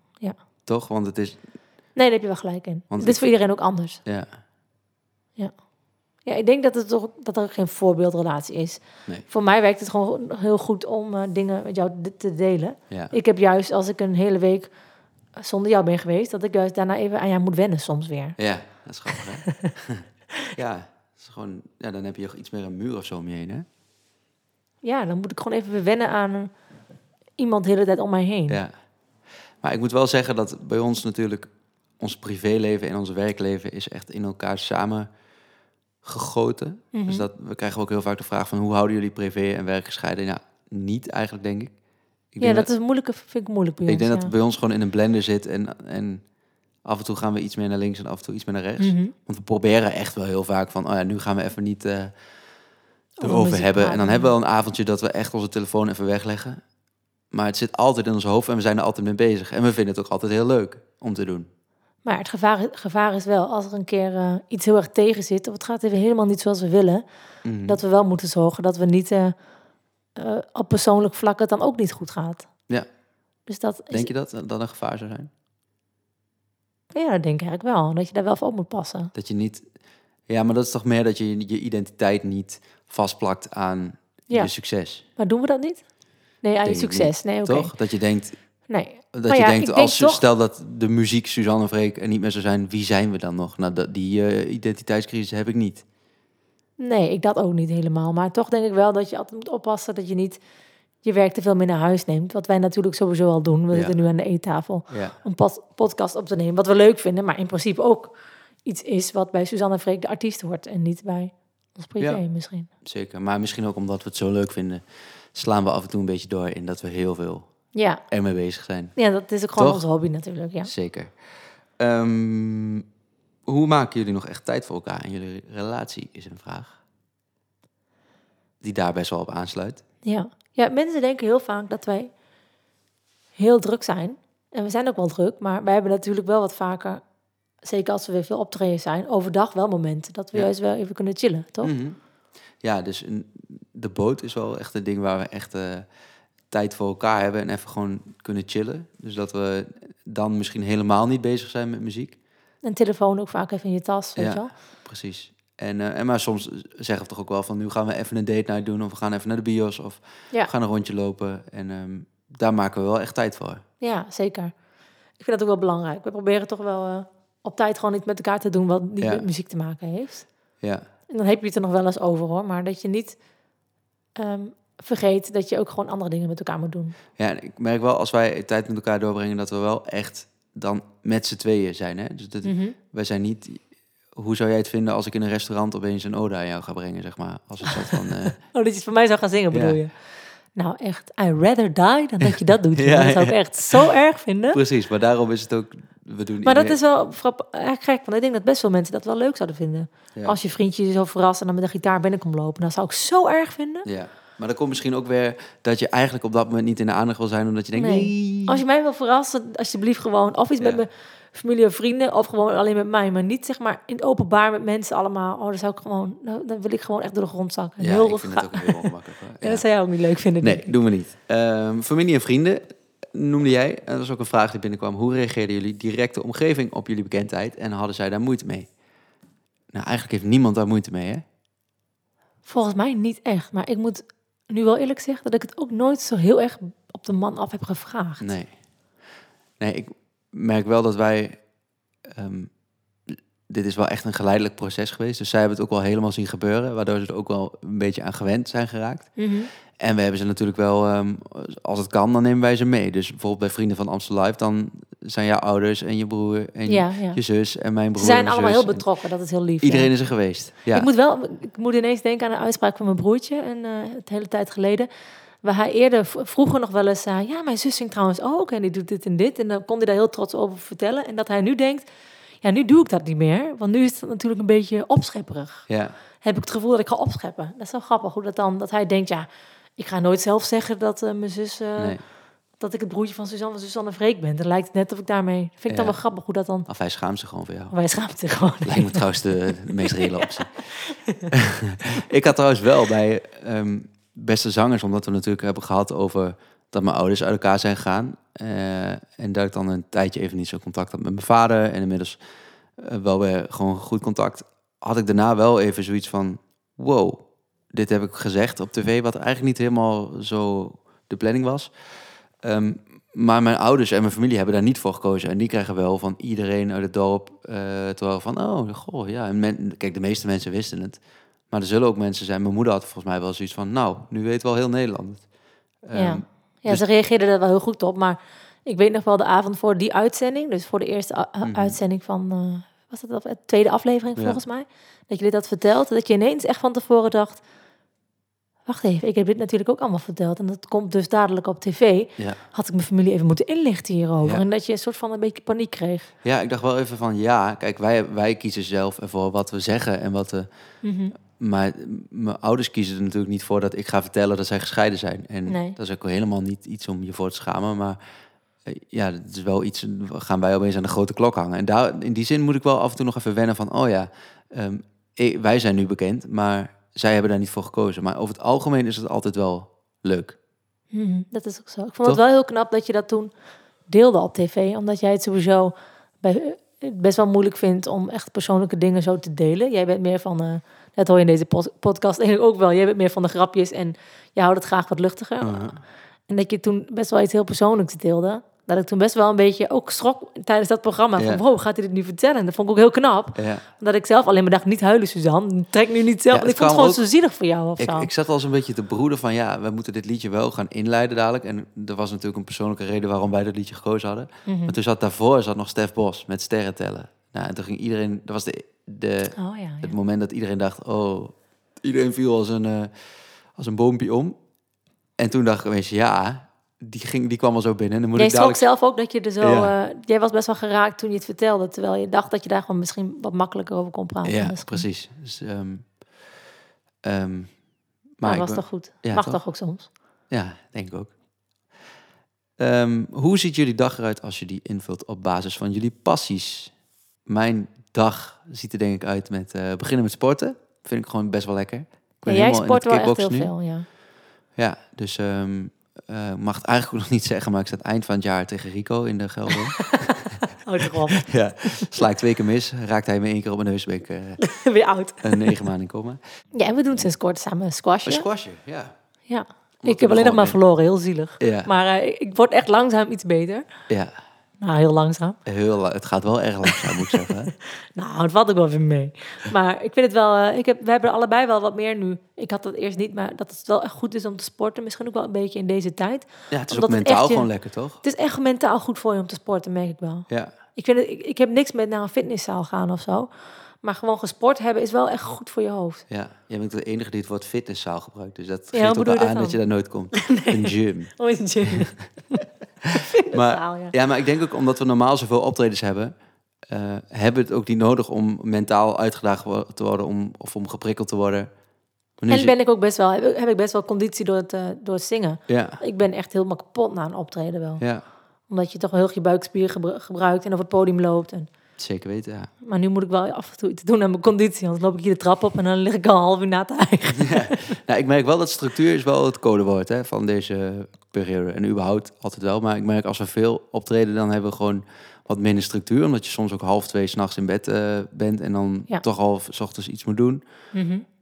Toch? Want het is.
Nee, daar heb je wel gelijk in.
Want
het is
ik-
voor iedereen ook anders.
Ja.
Ja, ik denk dat, het toch, dat er geen voorbeeldrelatie is.
Nee.
Voor mij werkt het gewoon heel goed om eh, dingen met jou d- te delen.
ja.
Ik heb juist, als ik een hele week eh, zonder jou ben geweest, dat ik juist daarna even aan jou moet wennen soms weer.
Ja, dat is grappig, hè? ja, dat is gewoon, ja, dan heb je iets meer een muur of zo om je heen, hè?
Ja, dan moet ik gewoon even weer wennen aan eh, iemand de hele tijd om mij heen.
Ja. Maar ik moet wel zeggen dat bij ons natuurlijk... ons privéleven en ons werkleven is echt in elkaar samen gegoten.
Mhm.
Dus dat, we krijgen ook heel vaak de vraag van... hoe houden jullie privé en werk gescheiden? Nou, niet eigenlijk, denk ik. ik
ja
denk
dat is moeilijk, vind ik moeilijk bij
ik
ons,
denk dat
ja.
het bij ons gewoon in een blender zit en... en Af en toe gaan we iets meer naar links en af en toe iets meer naar rechts.
Mhm.
Want we proberen echt wel heel vaak van, oh ja, nu gaan we even niet eh,
Over
erover
muziek
hebben. En dan
praten.
hebben we wel een avondje dat we echt onze telefoon even wegleggen. Maar het zit altijd in ons hoofd en we zijn er altijd mee bezig. En we vinden het ook altijd heel leuk om te doen.
Maar het gevaar, gevaar is wel, als er een keer eh, iets heel erg tegen zit... of het gaat even helemaal niet zoals we willen...
Mhm.
dat we wel moeten zorgen dat we niet eh, eh, op persoonlijk vlak het dan ook niet goed gaat.
Ja.
Dus dat is,
Denk je dat dat een gevaar zou zijn?
ja, dat denk ik eigenlijk wel. Dat je daar wel voor op moet passen.
Dat je niet... Ja, maar dat is toch meer dat je je identiteit niet vastplakt aan
Ja.
je succes,
Maar doen we dat niet? Nee, aan je
Denk ik
succes. Nee, oké.
toch? Dat je denkt,
Nee.
dat
Maar
je
ja,
denkt
ik
als
denk toch-
stel dat de muziek Suzanne en Freek er niet meer zou zijn, wie zijn we dan nog? Nou, dat, die eh, identiteitscrisis heb ik niet.
nee, ik dat ook niet helemaal. Maar toch denk ik wel dat je altijd moet oppassen dat je niet je werk te veel mee naar huis neemt. Wat wij natuurlijk sowieso al doen. We
Ja.
zitten nu aan de eettafel
Ja.
om pod- podcast op te nemen. Wat we leuk vinden, maar in principe ook iets is wat bij Suzanne en Freek de artiest hoort. En niet bij ons privé
Ja.
misschien.
Zeker, maar misschien ook omdat we het zo leuk vinden, slaan we af en toe een beetje door in dat we heel veel
Ja,
ermee bezig zijn.
Ja, dat is ook gewoon
Toch?
onze hobby natuurlijk, ja.
Zeker. Ehm, hoe maken jullie nog echt tijd voor elkaar in jullie relatie, is een vraag. Die daar best wel op aansluit.
ja. Ja, mensen denken heel vaak dat wij heel druk zijn. En we zijn ook wel druk, maar wij hebben natuurlijk wel wat vaker, zeker als we weer veel optreden zijn, overdag wel momenten dat we
Ja.
juist wel even kunnen chillen, toch?
Mhm. Ja, dus een- de boot is wel echt een ding waar we echt eh, tijd voor elkaar hebben en even gewoon kunnen chillen. Dus dat we dan misschien helemaal niet bezig zijn met muziek.
En telefoon ook vaak even in je tas, weet
Ja.
je wel.
Precies. En, eh, en maar soms zeggen we toch ook wel van nu gaan we even een date night doen of we gaan even naar de bios of
Ja.
we gaan een rondje lopen. En ehm, daar maken we wel echt tijd voor.
Ja, zeker. Ik vind dat ook wel belangrijk. We proberen toch wel eh, op tijd gewoon iets met elkaar te doen wat niet
Ja.
met muziek te maken heeft.
Ja,
En dan heb je het er nog wel eens over hoor, maar dat je niet ehm, vergeet dat je ook gewoon andere dingen met elkaar moet doen.
ja en ik merk wel als wij tijd met elkaar doorbrengen dat we wel echt dan met z'n tweeën zijn. Hè? Dus dat,
Mhm.
wij zijn niet... Hoe zou jij het vinden als ik in een restaurant opeens een ode aan jou ga brengen, zeg maar? Als een soort van... eh,
Oh, dat je het voor mij zou gaan zingen,
Ja.
bedoel je? Nou, echt, I rather die dan dat je dat doet.
Ja,
dat zou ik
ja.
echt zo erg vinden.
Precies, maar daarom is het ook... We doen
Maar dat
meer-
is wel grap- eigenlijk gek, want ik denk dat best veel mensen dat wel leuk zouden vinden.
Ja.
Als je vriendje je zo verrast en dan met een gitaar binnenkomt lopen. Dat zou ik zo erg vinden.
Ja, maar dan komt misschien ook weer dat je eigenlijk op dat moment niet in de aandacht wil zijn, omdat je denkt...
Nee.
nee.
Als je mij wil verrassen, alsjeblieft gewoon. Of iets
Ja.
met mijn familie of vrienden, of gewoon alleen met mij. Maar niet zeg maar in het openbaar met mensen allemaal. Oh, dan zou ik gewoon, nou, dan wil ik gewoon echt door de grond zakken.
Ja,
heel
ik vind het ook heel ongemakkelijk. hoor.
En dat zou jij ook niet leuk vinden. denk
Nee,
ik.
doen we niet. Ehm, familie en vrienden noemde jij. En dat is ook een vraag die binnenkwam. Hoe reageerden jullie directe omgeving op jullie bekendheid en hadden zij daar moeite mee? Nou, eigenlijk heeft niemand daar moeite mee, hè?
Volgens mij niet echt. Maar ik moet nu wel eerlijk zeggen dat ik het ook nooit zo heel erg op de man af heb gevraagd.
Nee. Nee, ik merk wel dat wij ehm, dit is wel echt een geleidelijk proces geweest. Dus zij hebben het ook wel helemaal zien gebeuren, waardoor ze er ook wel een beetje aan gewend zijn geraakt.
Mhm.
En we hebben ze natuurlijk wel, ehm, als het kan, dan nemen wij ze mee. Dus bijvoorbeeld bij Vrienden van Amstel Live, dan zijn jouw ouders en je broer en
Ja, ja.
je zus en mijn
Ze
broer. en
zijn
mijn
allemaal
zus.
heel betrokken, dat is heel lief. ja.
Iedereen is er geweest. Ja.
Ik moet wel, ik moet ineens denken aan een uitspraak van mijn broertje een eh, het hele tijd geleden. Waar hij eerder v- vroeger nog wel eens zei: Ja, mijn zus zingt trouwens ook en die doet dit en dit. En dan kon hij daar heel trots over vertellen. En dat hij nu denkt: Ja, nu doe ik dat niet meer. Want nu is het natuurlijk een beetje opschepperig.
ja.
Heb ik het gevoel dat ik ga opscheppen. Dat is wel grappig hoe dat dan, dat hij denkt: Ja, ik ga nooit zelf zeggen dat eh, mijn zus, eh,
Nee.
dat ik het broertje van Suzanne en Suzanne Freek ben. Dan lijkt het net of ik daarmee. Vind ik dan
Ja.
wel grappig hoe dat dan.
Of hij schaamt zich gewoon voor jou.
Wij schaamt zich gewoon.
Lijkt me trouwens de, de meest reële optie. ik had trouwens wel bij ehm, Beste Zangers, omdat we natuurlijk hebben gehad over dat mijn ouders uit elkaar zijn gegaan. eh, en dat ik dan een tijdje even niet zo contact had met mijn vader. En inmiddels eh, wel weer gewoon goed contact. Had ik daarna wel even zoiets van, wow, dit heb ik gezegd op tv, wat eigenlijk niet helemaal zo de planning was. Ehm, maar mijn ouders en mijn familie hebben daar niet voor gekozen. En die krijgen wel van iedereen uit het dorp eh te horen van... oh, goh, ja. En men- kijk, de meeste mensen wisten het. Maar er zullen ook mensen zijn... mijn moeder had volgens mij wel zoiets van... nou, nu weet wel heel Nederland het. Ehm,
Ja, ja
dus-
ze reageerden daar wel heel goed op. Maar ik weet nog wel de avond voor die uitzending. Dus voor de eerste a- a-
Mhm.
uitzending van... eh, was dat de af- tweede aflevering
Ja.
volgens mij? Dat jullie dat vertelt. Dat je ineens echt van tevoren dacht... Wacht even, ik heb dit natuurlijk ook allemaal verteld. En dat komt dus dadelijk op tv.
Ja.
Had ik mijn familie even moeten inlichten hierover.
Ja.
En dat je een soort van een beetje paniek kreeg.
ja, ik dacht wel even van... ja, kijk, wij, wij kiezen zelf ervoor wat we zeggen en wat we... Maar mijn ouders kiezen er natuurlijk niet voor dat ik ga vertellen dat zij gescheiden zijn. En
Nee.
dat is ook helemaal niet iets om je voor te schamen. Maar eh, ja, het is wel iets, gaan wij opeens aan de grote klok hangen. En daar, in die zin moet ik wel af en toe nog even wennen van, oh ja, ehm, ik- wij zijn nu bekend, maar zij hebben daar niet voor gekozen. Maar over het algemeen is het altijd wel leuk.
Mhm, Dat is ook zo. Ik vond
Toch?
het wel heel knap dat je dat toen deelde op tv. Omdat jij het sowieso bij, eh, best wel moeilijk vindt om echt persoonlijke dingen zo te delen. Jij bent meer van, eh, dat hoor je in deze pod- podcast eigenlijk ook wel. Jij bent meer van de grapjes en je houdt het graag wat luchtiger. En dat je toen best wel iets heel persoonlijks deelde. Dat ik toen best wel een beetje ook schrok tijdens dat programma.
Ja.
Van, wow, gaat hij dit nu vertellen? Dat vond ik ook heel knap.
Ja.
Omdat ik zelf alleen maar dacht, niet huilen Suzanne. Trek nu niet zelf.
Ja,
ik
het
vond het
kwam
gewoon zo zielig voor jou of
Ik,
zo.
ik zat al eens een beetje te broeden van ja, we moeten dit liedje wel gaan inleiden dadelijk. En er was natuurlijk een persoonlijke reden waarom wij dat liedje gekozen hadden.
Mhm.
Maar toen zat daarvoor zat nog Stef Bos met sterren tellen. Nou, en toen ging iedereen, dat was de, de,
Oh ja, ja.
het moment dat iedereen dacht, oh, iedereen viel als een, eh, als een boompje om. En toen dacht ik ineens, ja, die, ging, die kwam al zo binnen. En dan moet
Jij
ik
schrok
dadelijk...
zelf ook dat je er zo...
Ja.
eh, jij was best wel geraakt toen je het vertelde. Terwijl je dacht dat je daar gewoon misschien wat makkelijker over kon praten.
Ja,
Misschien.
precies. Dus, ehm, ehm, maar
Maar
ik
dat was
ben-
toch goed?
Ja,
Mag
toch?
toch? ook soms?
Ja, denk ik ook. Ehm, hoe ziet jullie dag eruit als je die invult op basis van jullie passies? Mijn dag ziet er denk ik uit met eh, beginnen met sporten. Vind ik gewoon best wel lekker. Ik
Ja,
ben
jij
helemaal in
sport
het
wel echt heel
kickboksen nu.
veel, ja.
Ja, dus ehm, eh, ik mag het eigenlijk ook nog niet zeggen, maar ik sta het eind van het jaar tegen Rico in de Gelder.
Oh, erop.
ja, sla ik twee keer mis, raakt hij me één keer op mijn neus, ben ik eh,
Weer oud.
een negen maanden in coma.
Ja, en we doen sinds kort samen
Een
squashen.
squashje, ja.
ja.
we
Ik heb alleen
begonnen
nog maar
zijn.
verloren. Heel zielig.
Ja,
Maar eh, ik word echt langzaam iets beter.
ja.
Nou, heel langzaam.
Heel, la- het gaat wel erg langzaam, moet ik zeggen.
Nou, het valt ook wel weer mee. Maar ik vind het wel... eh, ik heb, we hebben er allebei wel wat meer nu. Ik had dat eerst niet, maar dat het wel echt goed is om te sporten. Misschien ook wel een beetje in deze tijd.
Ja, het is
Omdat
ook
het
mentaal
echt je-
gewoon lekker, toch?
Het is echt mentaal goed voor je om te sporten, merk ik wel.
Ja.
Ik, vind het, ik, ik heb niks met naar een fitnesszaal gaan of zo. Maar gewoon gesport hebben is wel echt goed voor je hoofd.
Ja, jij bent de enige die het woord fitnesszaal gebruikt. Dus dat
hoe
geeft ook
bedoel
wel
je
aan
dat
dat
dan?
je daar nooit komt. Een gym.
Oh, is het gym. Fitnesszaal,
Maar,
ja.
ja, maar ik denk ook omdat we normaal zoveel optredens hebben... eh, hebben we het ook niet nodig om mentaal uitgedaagd wo- te worden om, of om geprikkeld te worden. Maar nu
En
zit-
ben ik ook best wel, heb, heb ik best wel conditie door het, eh, door het zingen.
Ja,
Ik ben echt helemaal kapot na een optreden wel.
ja,
Omdat je toch wel heel je buikspier gebru- gebruikt en over het podium loopt. En,
zeker weten, ja.
maar nu moet ik wel af en toe iets doen aan mijn conditie. Anders loop ik hier de trap op en dan lig ik al een half uur na te eigen.
Nou, ik merk wel dat structuur is wel het codewoord hè, van deze periode. En überhaupt altijd wel. Maar ik merk als we veel optreden, dan hebben we gewoon wat minder structuur. Omdat je soms ook half twee s'nachts in bed eh, bent en dan
Ja.
toch al s ochtends iets moet doen.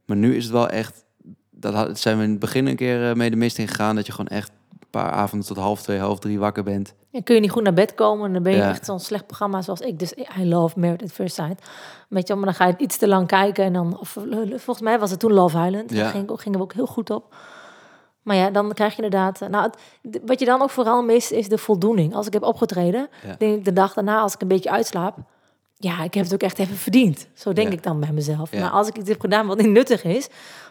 Maar nu is het wel echt... Dat had- zijn we in het begin een keer eh, mee de mist in gegaan. Dat je gewoon echt paar avonden tot half twee, half drie wakker bent.
Dan kun je niet goed naar bed komen. en Dan ben je
Ja.
echt zo'n slecht programma zoals ik. Dus I love Married at First Sight. Weet je, wel, maar dan ga je iets te lang kijken. En dan, of, volgens mij was het toen Love Island.
Ja.
Daar ging, ik ook- gingen we ook heel goed op. Maar ja, dan krijg je inderdaad... eh, Nou, het- d- wat je dan ook vooral mist, is de voldoening. Als ik heb opgetreden,
Ja.
denk ik de dag daarna, als ik een beetje uitslaap... Ja, ik heb het ook echt even verdiend. Zo denk
Ja.
ik dan bij mezelf.
Ja.
Maar als ik iets heb gedaan wat niet nuttig is...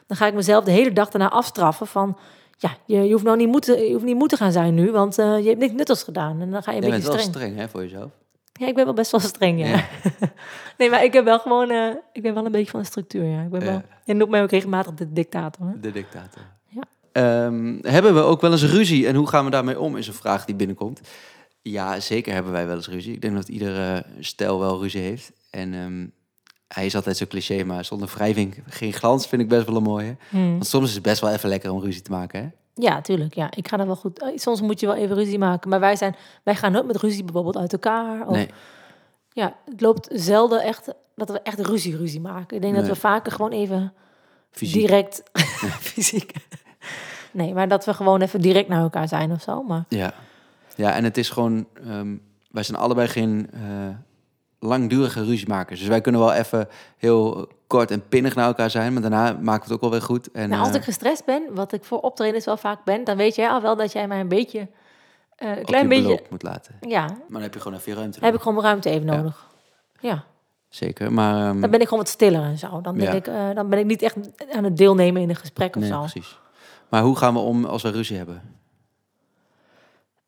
dan ga ik mezelf de hele dag daarna afstraffen van... ja, je, je hoeft nou niet moeten, je hoeft niet moeten gaan zijn nu... want eh, je hebt niks nuttigs gedaan. En dan ga je een
Je bent
beetje
wel
streng.
streng hè, voor jezelf.
Ja, ik ben wel best wel streng, ja.
Ja.
nee, maar ik heb wel gewoon... eh, ik ben wel een beetje van de structuur, ja. Ik ben
Ja.
wel, je noemt mij ook regelmatig de dictator. hè.
De dictator.
Ja.
Ehm, hebben we ook wel eens ruzie en hoe gaan we daarmee om, is een vraag die binnenkomt. Ja, zeker hebben wij wel eens ruzie. Ik denk dat iedere stijl wel ruzie heeft. En ehm, hij is altijd zo cliché, maar zonder wrijving geen glans vind ik best wel een mooie.
Hmm.
Want soms is het best wel even lekker om ruzie te maken, hè?
Ja, tuurlijk. Ja, ik ga er wel goed... eh, Soms moet je wel even ruzie maken. Maar wij, zijn, wij gaan nooit met ruzie bijvoorbeeld uit elkaar. Of,
Nee,
Ja, het loopt zelden echt dat we echt ruzie ruzie maken. Ik denk dat
Nee.
we vaker gewoon even
fysiek.
direct... fysiek. Nee, maar dat we gewoon even direct naar elkaar zijn of zo. Maar
Ja. ja, en het is gewoon... ehm, wij zijn allebei geen eh, langdurige ruziemakers. Dus wij kunnen wel even heel kort en pinnig naar elkaar zijn. Maar daarna maken we het ook wel weer goed. En,
nou, als
eh,
ik gestrest ben, wat ik voor optredens wel vaak ben... dan weet jij al wel dat jij mij een beetje... eh, een
op
klein
je
beetje...
beloop moet laten.
Ja,
Maar dan heb je gewoon even je ruimte.
heb ik gewoon ruimte even
Ja.
nodig. Ja,
Zeker, maar... ehm,
dan ben ik gewoon wat stiller en zo. Dan, denk
Ja.
ik, eh, dan ben ik niet echt aan het deelnemen in een gesprek of
nee,
zo.
precies. Maar hoe gaan we om als we ruzie hebben?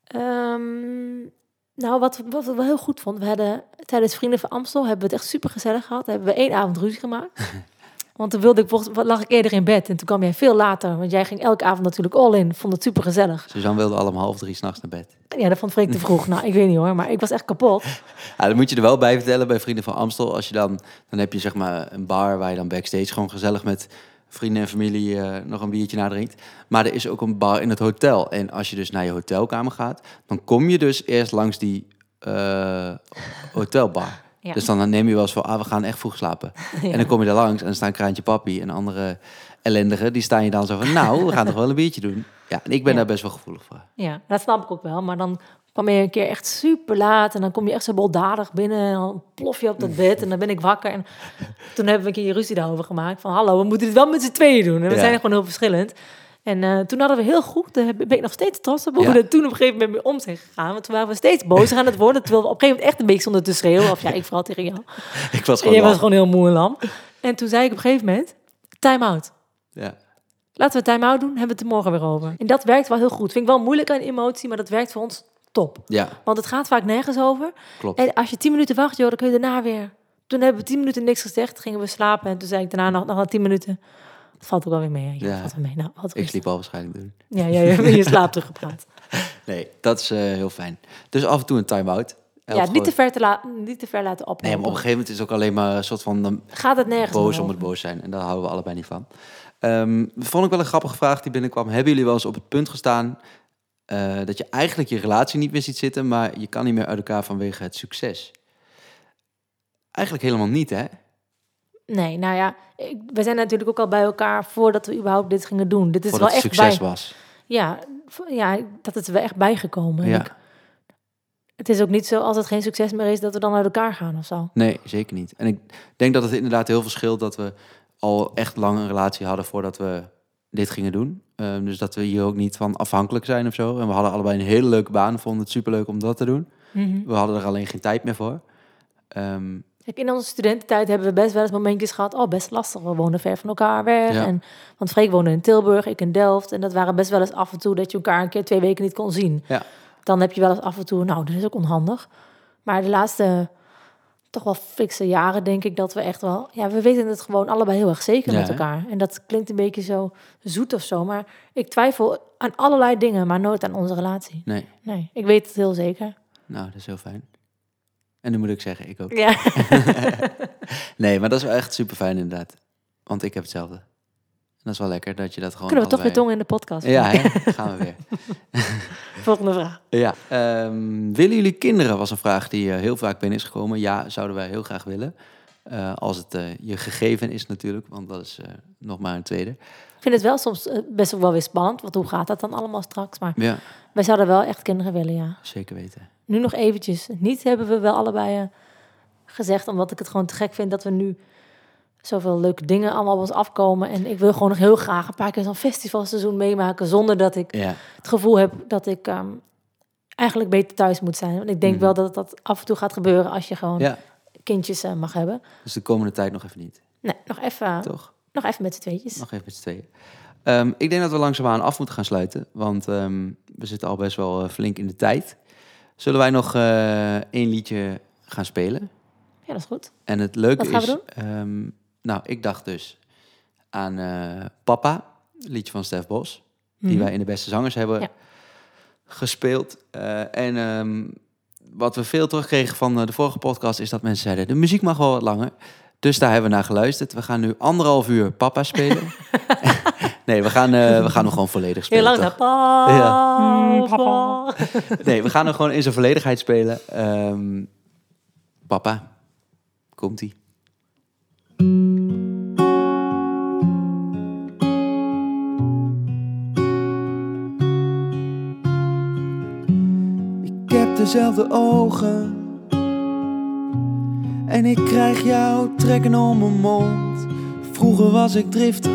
Ehm, nou, wat, wat we wel heel goed vonden, we hadden tijdens Vrienden van Amstel hebben we het echt super gezellig gehad. Hebben we één avond ruzie gemaakt. Want toen wilde ik volgens, wat lag ik eerder in bed en toen kwam jij veel later. Want jij ging elke avond natuurlijk all in. Vond het super gezellig.
Suzanne wilde allemaal half drie s'nachts naar bed.
Ja, dat vond Freek te vroeg. Nou, ik weet niet hoor, maar ik was echt kapot.
Ja, dat moet je er wel bij vertellen bij Vrienden van Amstel. Als je dan, dan heb je zeg maar een bar waar je dan backstage gewoon gezellig met vrienden en familie eh, nog een biertje nadrinkt. Maar er is ook een bar in het hotel. En als je dus naar je hotelkamer gaat, dan kom je dus eerst langs die eh, hotelbar.
Ja.
Dus dan neem je wel eens voor, ah, we gaan echt vroeg slapen. En dan kom je daar langs en dan staan Kraantje Papi en andere ellendigen. Die staan je dan zo van, nou, we gaan toch wel een biertje doen. Ja, en ik ben
Ja.
daar best wel gevoelig voor.
Ja, dat snap ik ook wel. Maar dan kwam je een keer echt super laat en dan kom je echt zo baldadig binnen en dan plof je op dat bed en dan ben ik wakker. En toen hebben we een keer ruzie daarover gemaakt van hallo, we moeten dit wel met z'n tweeën doen. En we
Ja.
zijn gewoon heel verschillend. En eh, toen hadden we heel goed, daar heb- ben ik nog steeds trots op hoe
Ja.
we dat toen op een gegeven moment mee om zijn gegaan. Want toen waren we steeds boos aan het worden, terwijl we op een gegeven moment echt een beetje stonden te schreeuwen. Of ja, ik vooral tegen jou.
Ik was
En
gewoon
jij was
lam.
gewoon heel moe en lam. En toen zei ik op een gegeven moment, time out.
Ja.
Laten we time-out doen, hebben we het er morgen weer over. En dat werkt wel heel goed. Vind ik wel moeilijk aan emotie, maar dat werkt voor ons top.
ja,
Want het gaat vaak nergens over.
klopt.
En als je tien minuten wacht, joh, dan kun je daarna weer. Toen hebben we tien minuten niks gezegd, gingen we slapen. En toen zei ik daarna nog, nog na tien minuten. Dat valt ook wel weer mee. hè? Ja,
Ja.
valt wel mee. Nou, wat
Ik sliep al waarschijnlijk doen.
Ja, ja, ja, je slaapt teruggepraat.
Nee, dat is eh, heel fijn. Dus af en toe een time-out.
Ja,
Helpt
niet, te
gewoon.
ver te la- niet te ver laten opnemen.
Nee, maar op een gegeven moment is het ook alleen maar een soort van dan
Gaat het nergens
boos
meer
om het
over.
boos zijn. En daar houden we allebei niet van. Ehm, vond ik wel een grappige vraag die binnenkwam. Hebben jullie wel eens op het punt gestaan eh, dat je eigenlijk je relatie niet meer ziet zitten, maar je kan niet meer uit elkaar vanwege het succes? Eigenlijk helemaal niet, hè?
Nee, nou ja, ik- we zijn natuurlijk ook al bij elkaar voordat we überhaupt dit gingen doen. Dit is
Voordat
wel
het
echt
succes
bij.
was.
Ja, v- ja, dat is er wel echt bijgekomen. En
Ja.
ik- het is ook niet zo als het geen succes meer is dat we dan uit elkaar gaan of zo.
Nee, zeker niet. En ik denk dat het inderdaad heel veel scheelt dat we al echt lang een relatie hadden voordat we dit gingen doen. Ehm, dus dat we hier ook niet van afhankelijk zijn of zo. En we hadden allebei een hele leuke baan, vonden het superleuk om dat te doen.
Mhm.
We hadden er alleen geen tijd meer voor. Ehm,
Kijk, in onze studententijd hebben we best wel eens momentjes gehad. Oh, best lastig. We woonden ver van elkaar weg.
Ja.
En, want Freek woonde in Tilburg, ik in Delft. En dat waren best wel eens af en toe dat je elkaar een keer twee weken niet kon zien.
ja,
Dan heb je wel eens af en toe, nou, dat is ook onhandig. Maar de laatste toch wel fikse jaren denk ik dat we echt wel... Ja, we weten het gewoon allebei heel erg zeker
Ja,
met
hè?
elkaar. En dat klinkt een beetje zo zoet of zo. Maar ik twijfel aan allerlei dingen, maar nooit aan onze relatie.
nee.
Nee, ik weet het heel zeker.
Nou, dat is heel fijn. En dan moet ik zeggen, ik ook.
Ja.
Nee, maar dat is wel echt super fijn inderdaad. Want ik heb hetzelfde. En dat is wel lekker dat je dat gewoon.
Kunnen we toch weer
allebei-
tongen in de podcast?
Ja, hè? gaan we weer.
Volgende vraag.
Ja. ehm, willen jullie kinderen? Was een vraag die eh, heel vaak binnen is gekomen. Ja, zouden wij heel graag willen. Eh, als het eh, je gegeven is natuurlijk, want dat is eh, nog maar een tweede.
Ik vind het wel soms eh, best wel weer spannend, want hoe gaat dat dan allemaal straks? Maar
Ja,
wij zouden wel echt kinderen willen, ja.
zeker weten.
Nu nog eventjes. Niet hebben we wel allebei eh, gezegd, omdat ik het gewoon te gek vind dat we nu zoveel leuke dingen allemaal op ons afkomen. En ik wil gewoon nog heel graag een paar keer zo'n festivalseizoen meemaken, zonder dat ik
Ja,
het gevoel heb dat ik ehm, eigenlijk beter thuis moet zijn. Want ik denk
Mhm.
wel dat dat af en toe gaat gebeuren als je gewoon
ja.
kindjes eh, mag hebben.
Dus de komende tijd nog even niet,
Nee, nog even,
toch?
nog even met z'n tweetjes.
Nog even met z'n tweeën. Ehm, ik denk dat we langzaamaan af moeten gaan sluiten, want ehm, we zitten al best wel eh, flink in de tijd. Zullen wij nog eh, één liedje gaan spelen?
Ja, dat is goed.
En het leuke
Wat gaan
is,
we
ehm, nou, ik dacht dus aan eh, Papa, een liedje van Stef Bos, die
Mhm.
wij in de beste zangers hebben
Ja.
gespeeld. Eh, en ehm, wat we veel terugkregen van eh, de vorige podcast is dat mensen zeiden: de muziek mag wel wat langer. Dus daar hebben we naar geluisterd. We gaan nu anderhalf uur Papa spelen. nee, we gaan, eh, we gaan hem gewoon volledig
Heel
spelen.
lang
toch?
dan. Pa,
Ja.
Mm, pa,
Nee, we gaan hem gewoon in zijn volledigheid spelen. Ehm, papa, komt-ie. Ik heb dezelfde ogen. En ik krijg jou trekken om mijn mond. Vroeger was ik driftig,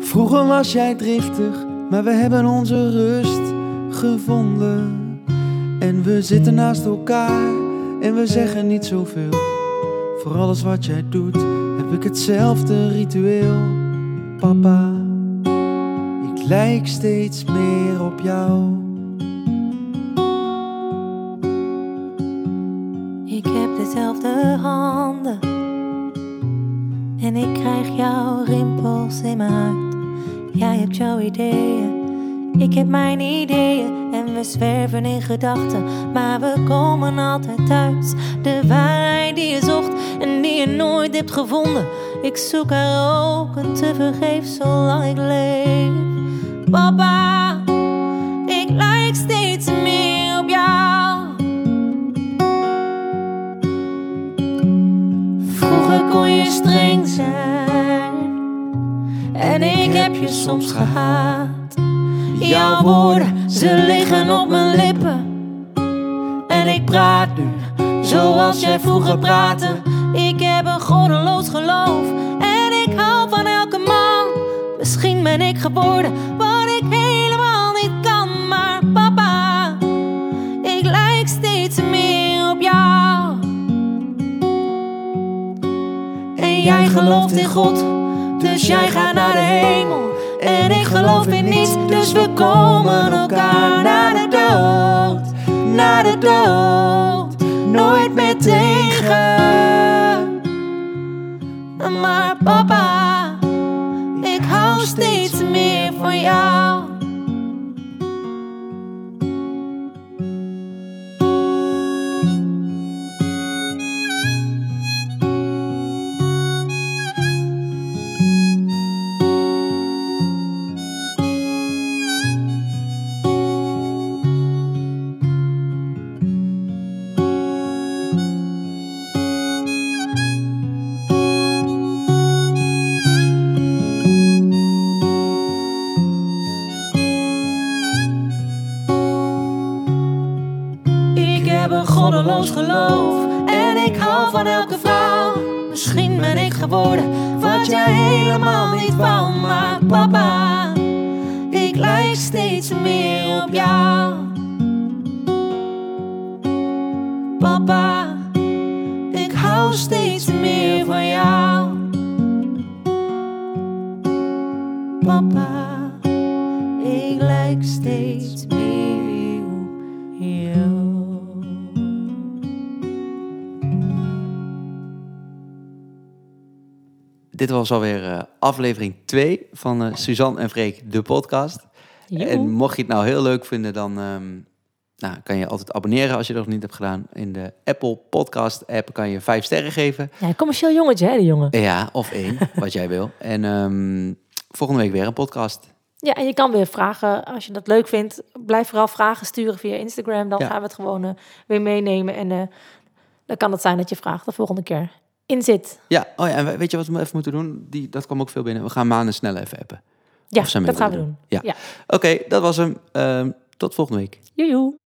vroeger was jij driftig. Maar we hebben onze rust gevonden. En we zitten naast elkaar en we zeggen niet zoveel. Voor alles wat jij doet heb ik hetzelfde ritueel. Papa, ik lijk steeds meer op jou.
Ik heb dezelfde handen en ik krijg jouw rimpels in mijn huid. Jij hebt jouw ideeën, ik heb mijn ideeën en we zwerven in gedachten, maar we komen altijd uit. De waarheid die je zocht en die je nooit hebt gevonden, ik zoek haar ook en tevergeefs zolang ik leef. Papa, ik lijk steeds meer op jou. Vroeger kon je streng zijn En ik heb je soms gehaat Jouw woorden, ze liggen op mijn lippen En ik praat nu zoals jij vroeger praatte Ik heb een goddeloos geloof En ik hou van elke man Misschien ben ik geboren wat ik helemaal niet kan Maar papa, ik lijk steeds meer op jou en jij gelooft in God, dus jij gaat naar de hemel. En ik geloof in niets, dus we komen elkaar naar de dood. Naar de dood, nooit meer tegen. Maar papa, ik hou steeds meer van jou. Ik heb een goddeloos geloof en ik hou van elke vrouw. Misschien ben ik geworden wat jij helemaal niet wou, maar papa, ik lijk steeds meer op jou. Papa, ik hou steeds meer van jou. Papa, ik lijk steeds meer op
Dit was alweer eh, aflevering 2 van eh, Suzanne en Freek, de podcast. En mocht je het nou heel leuk vinden, dan ehm, nou, kan je altijd abonneren als je dat nog niet hebt gedaan. In de Apple Podcast app kan je 5 sterren geven. Eh,
Ja, een commercieel jongetje, hè, die jongen.
Ja, of één, wat jij wil. En ehm, volgende week weer een podcast.
Ja, en je kan weer vragen, als je dat leuk vindt, blijf vooral vragen sturen via Instagram. Dan
Ja.
gaan we het gewoon eh, weer meenemen. En eh, dan kan het zijn dat je vraagt de volgende keer. in zit.
Ja, oh ja, en we- weet je wat we even moeten doen? Die, dat kwam ook veel binnen. We gaan maanden snel even appen.
Ja,
Of zijn we
dat gaan we
willen
doen.
Ja.
Ja.
Oké, dat was hem. Ehm, tot volgende week.
Joejoe.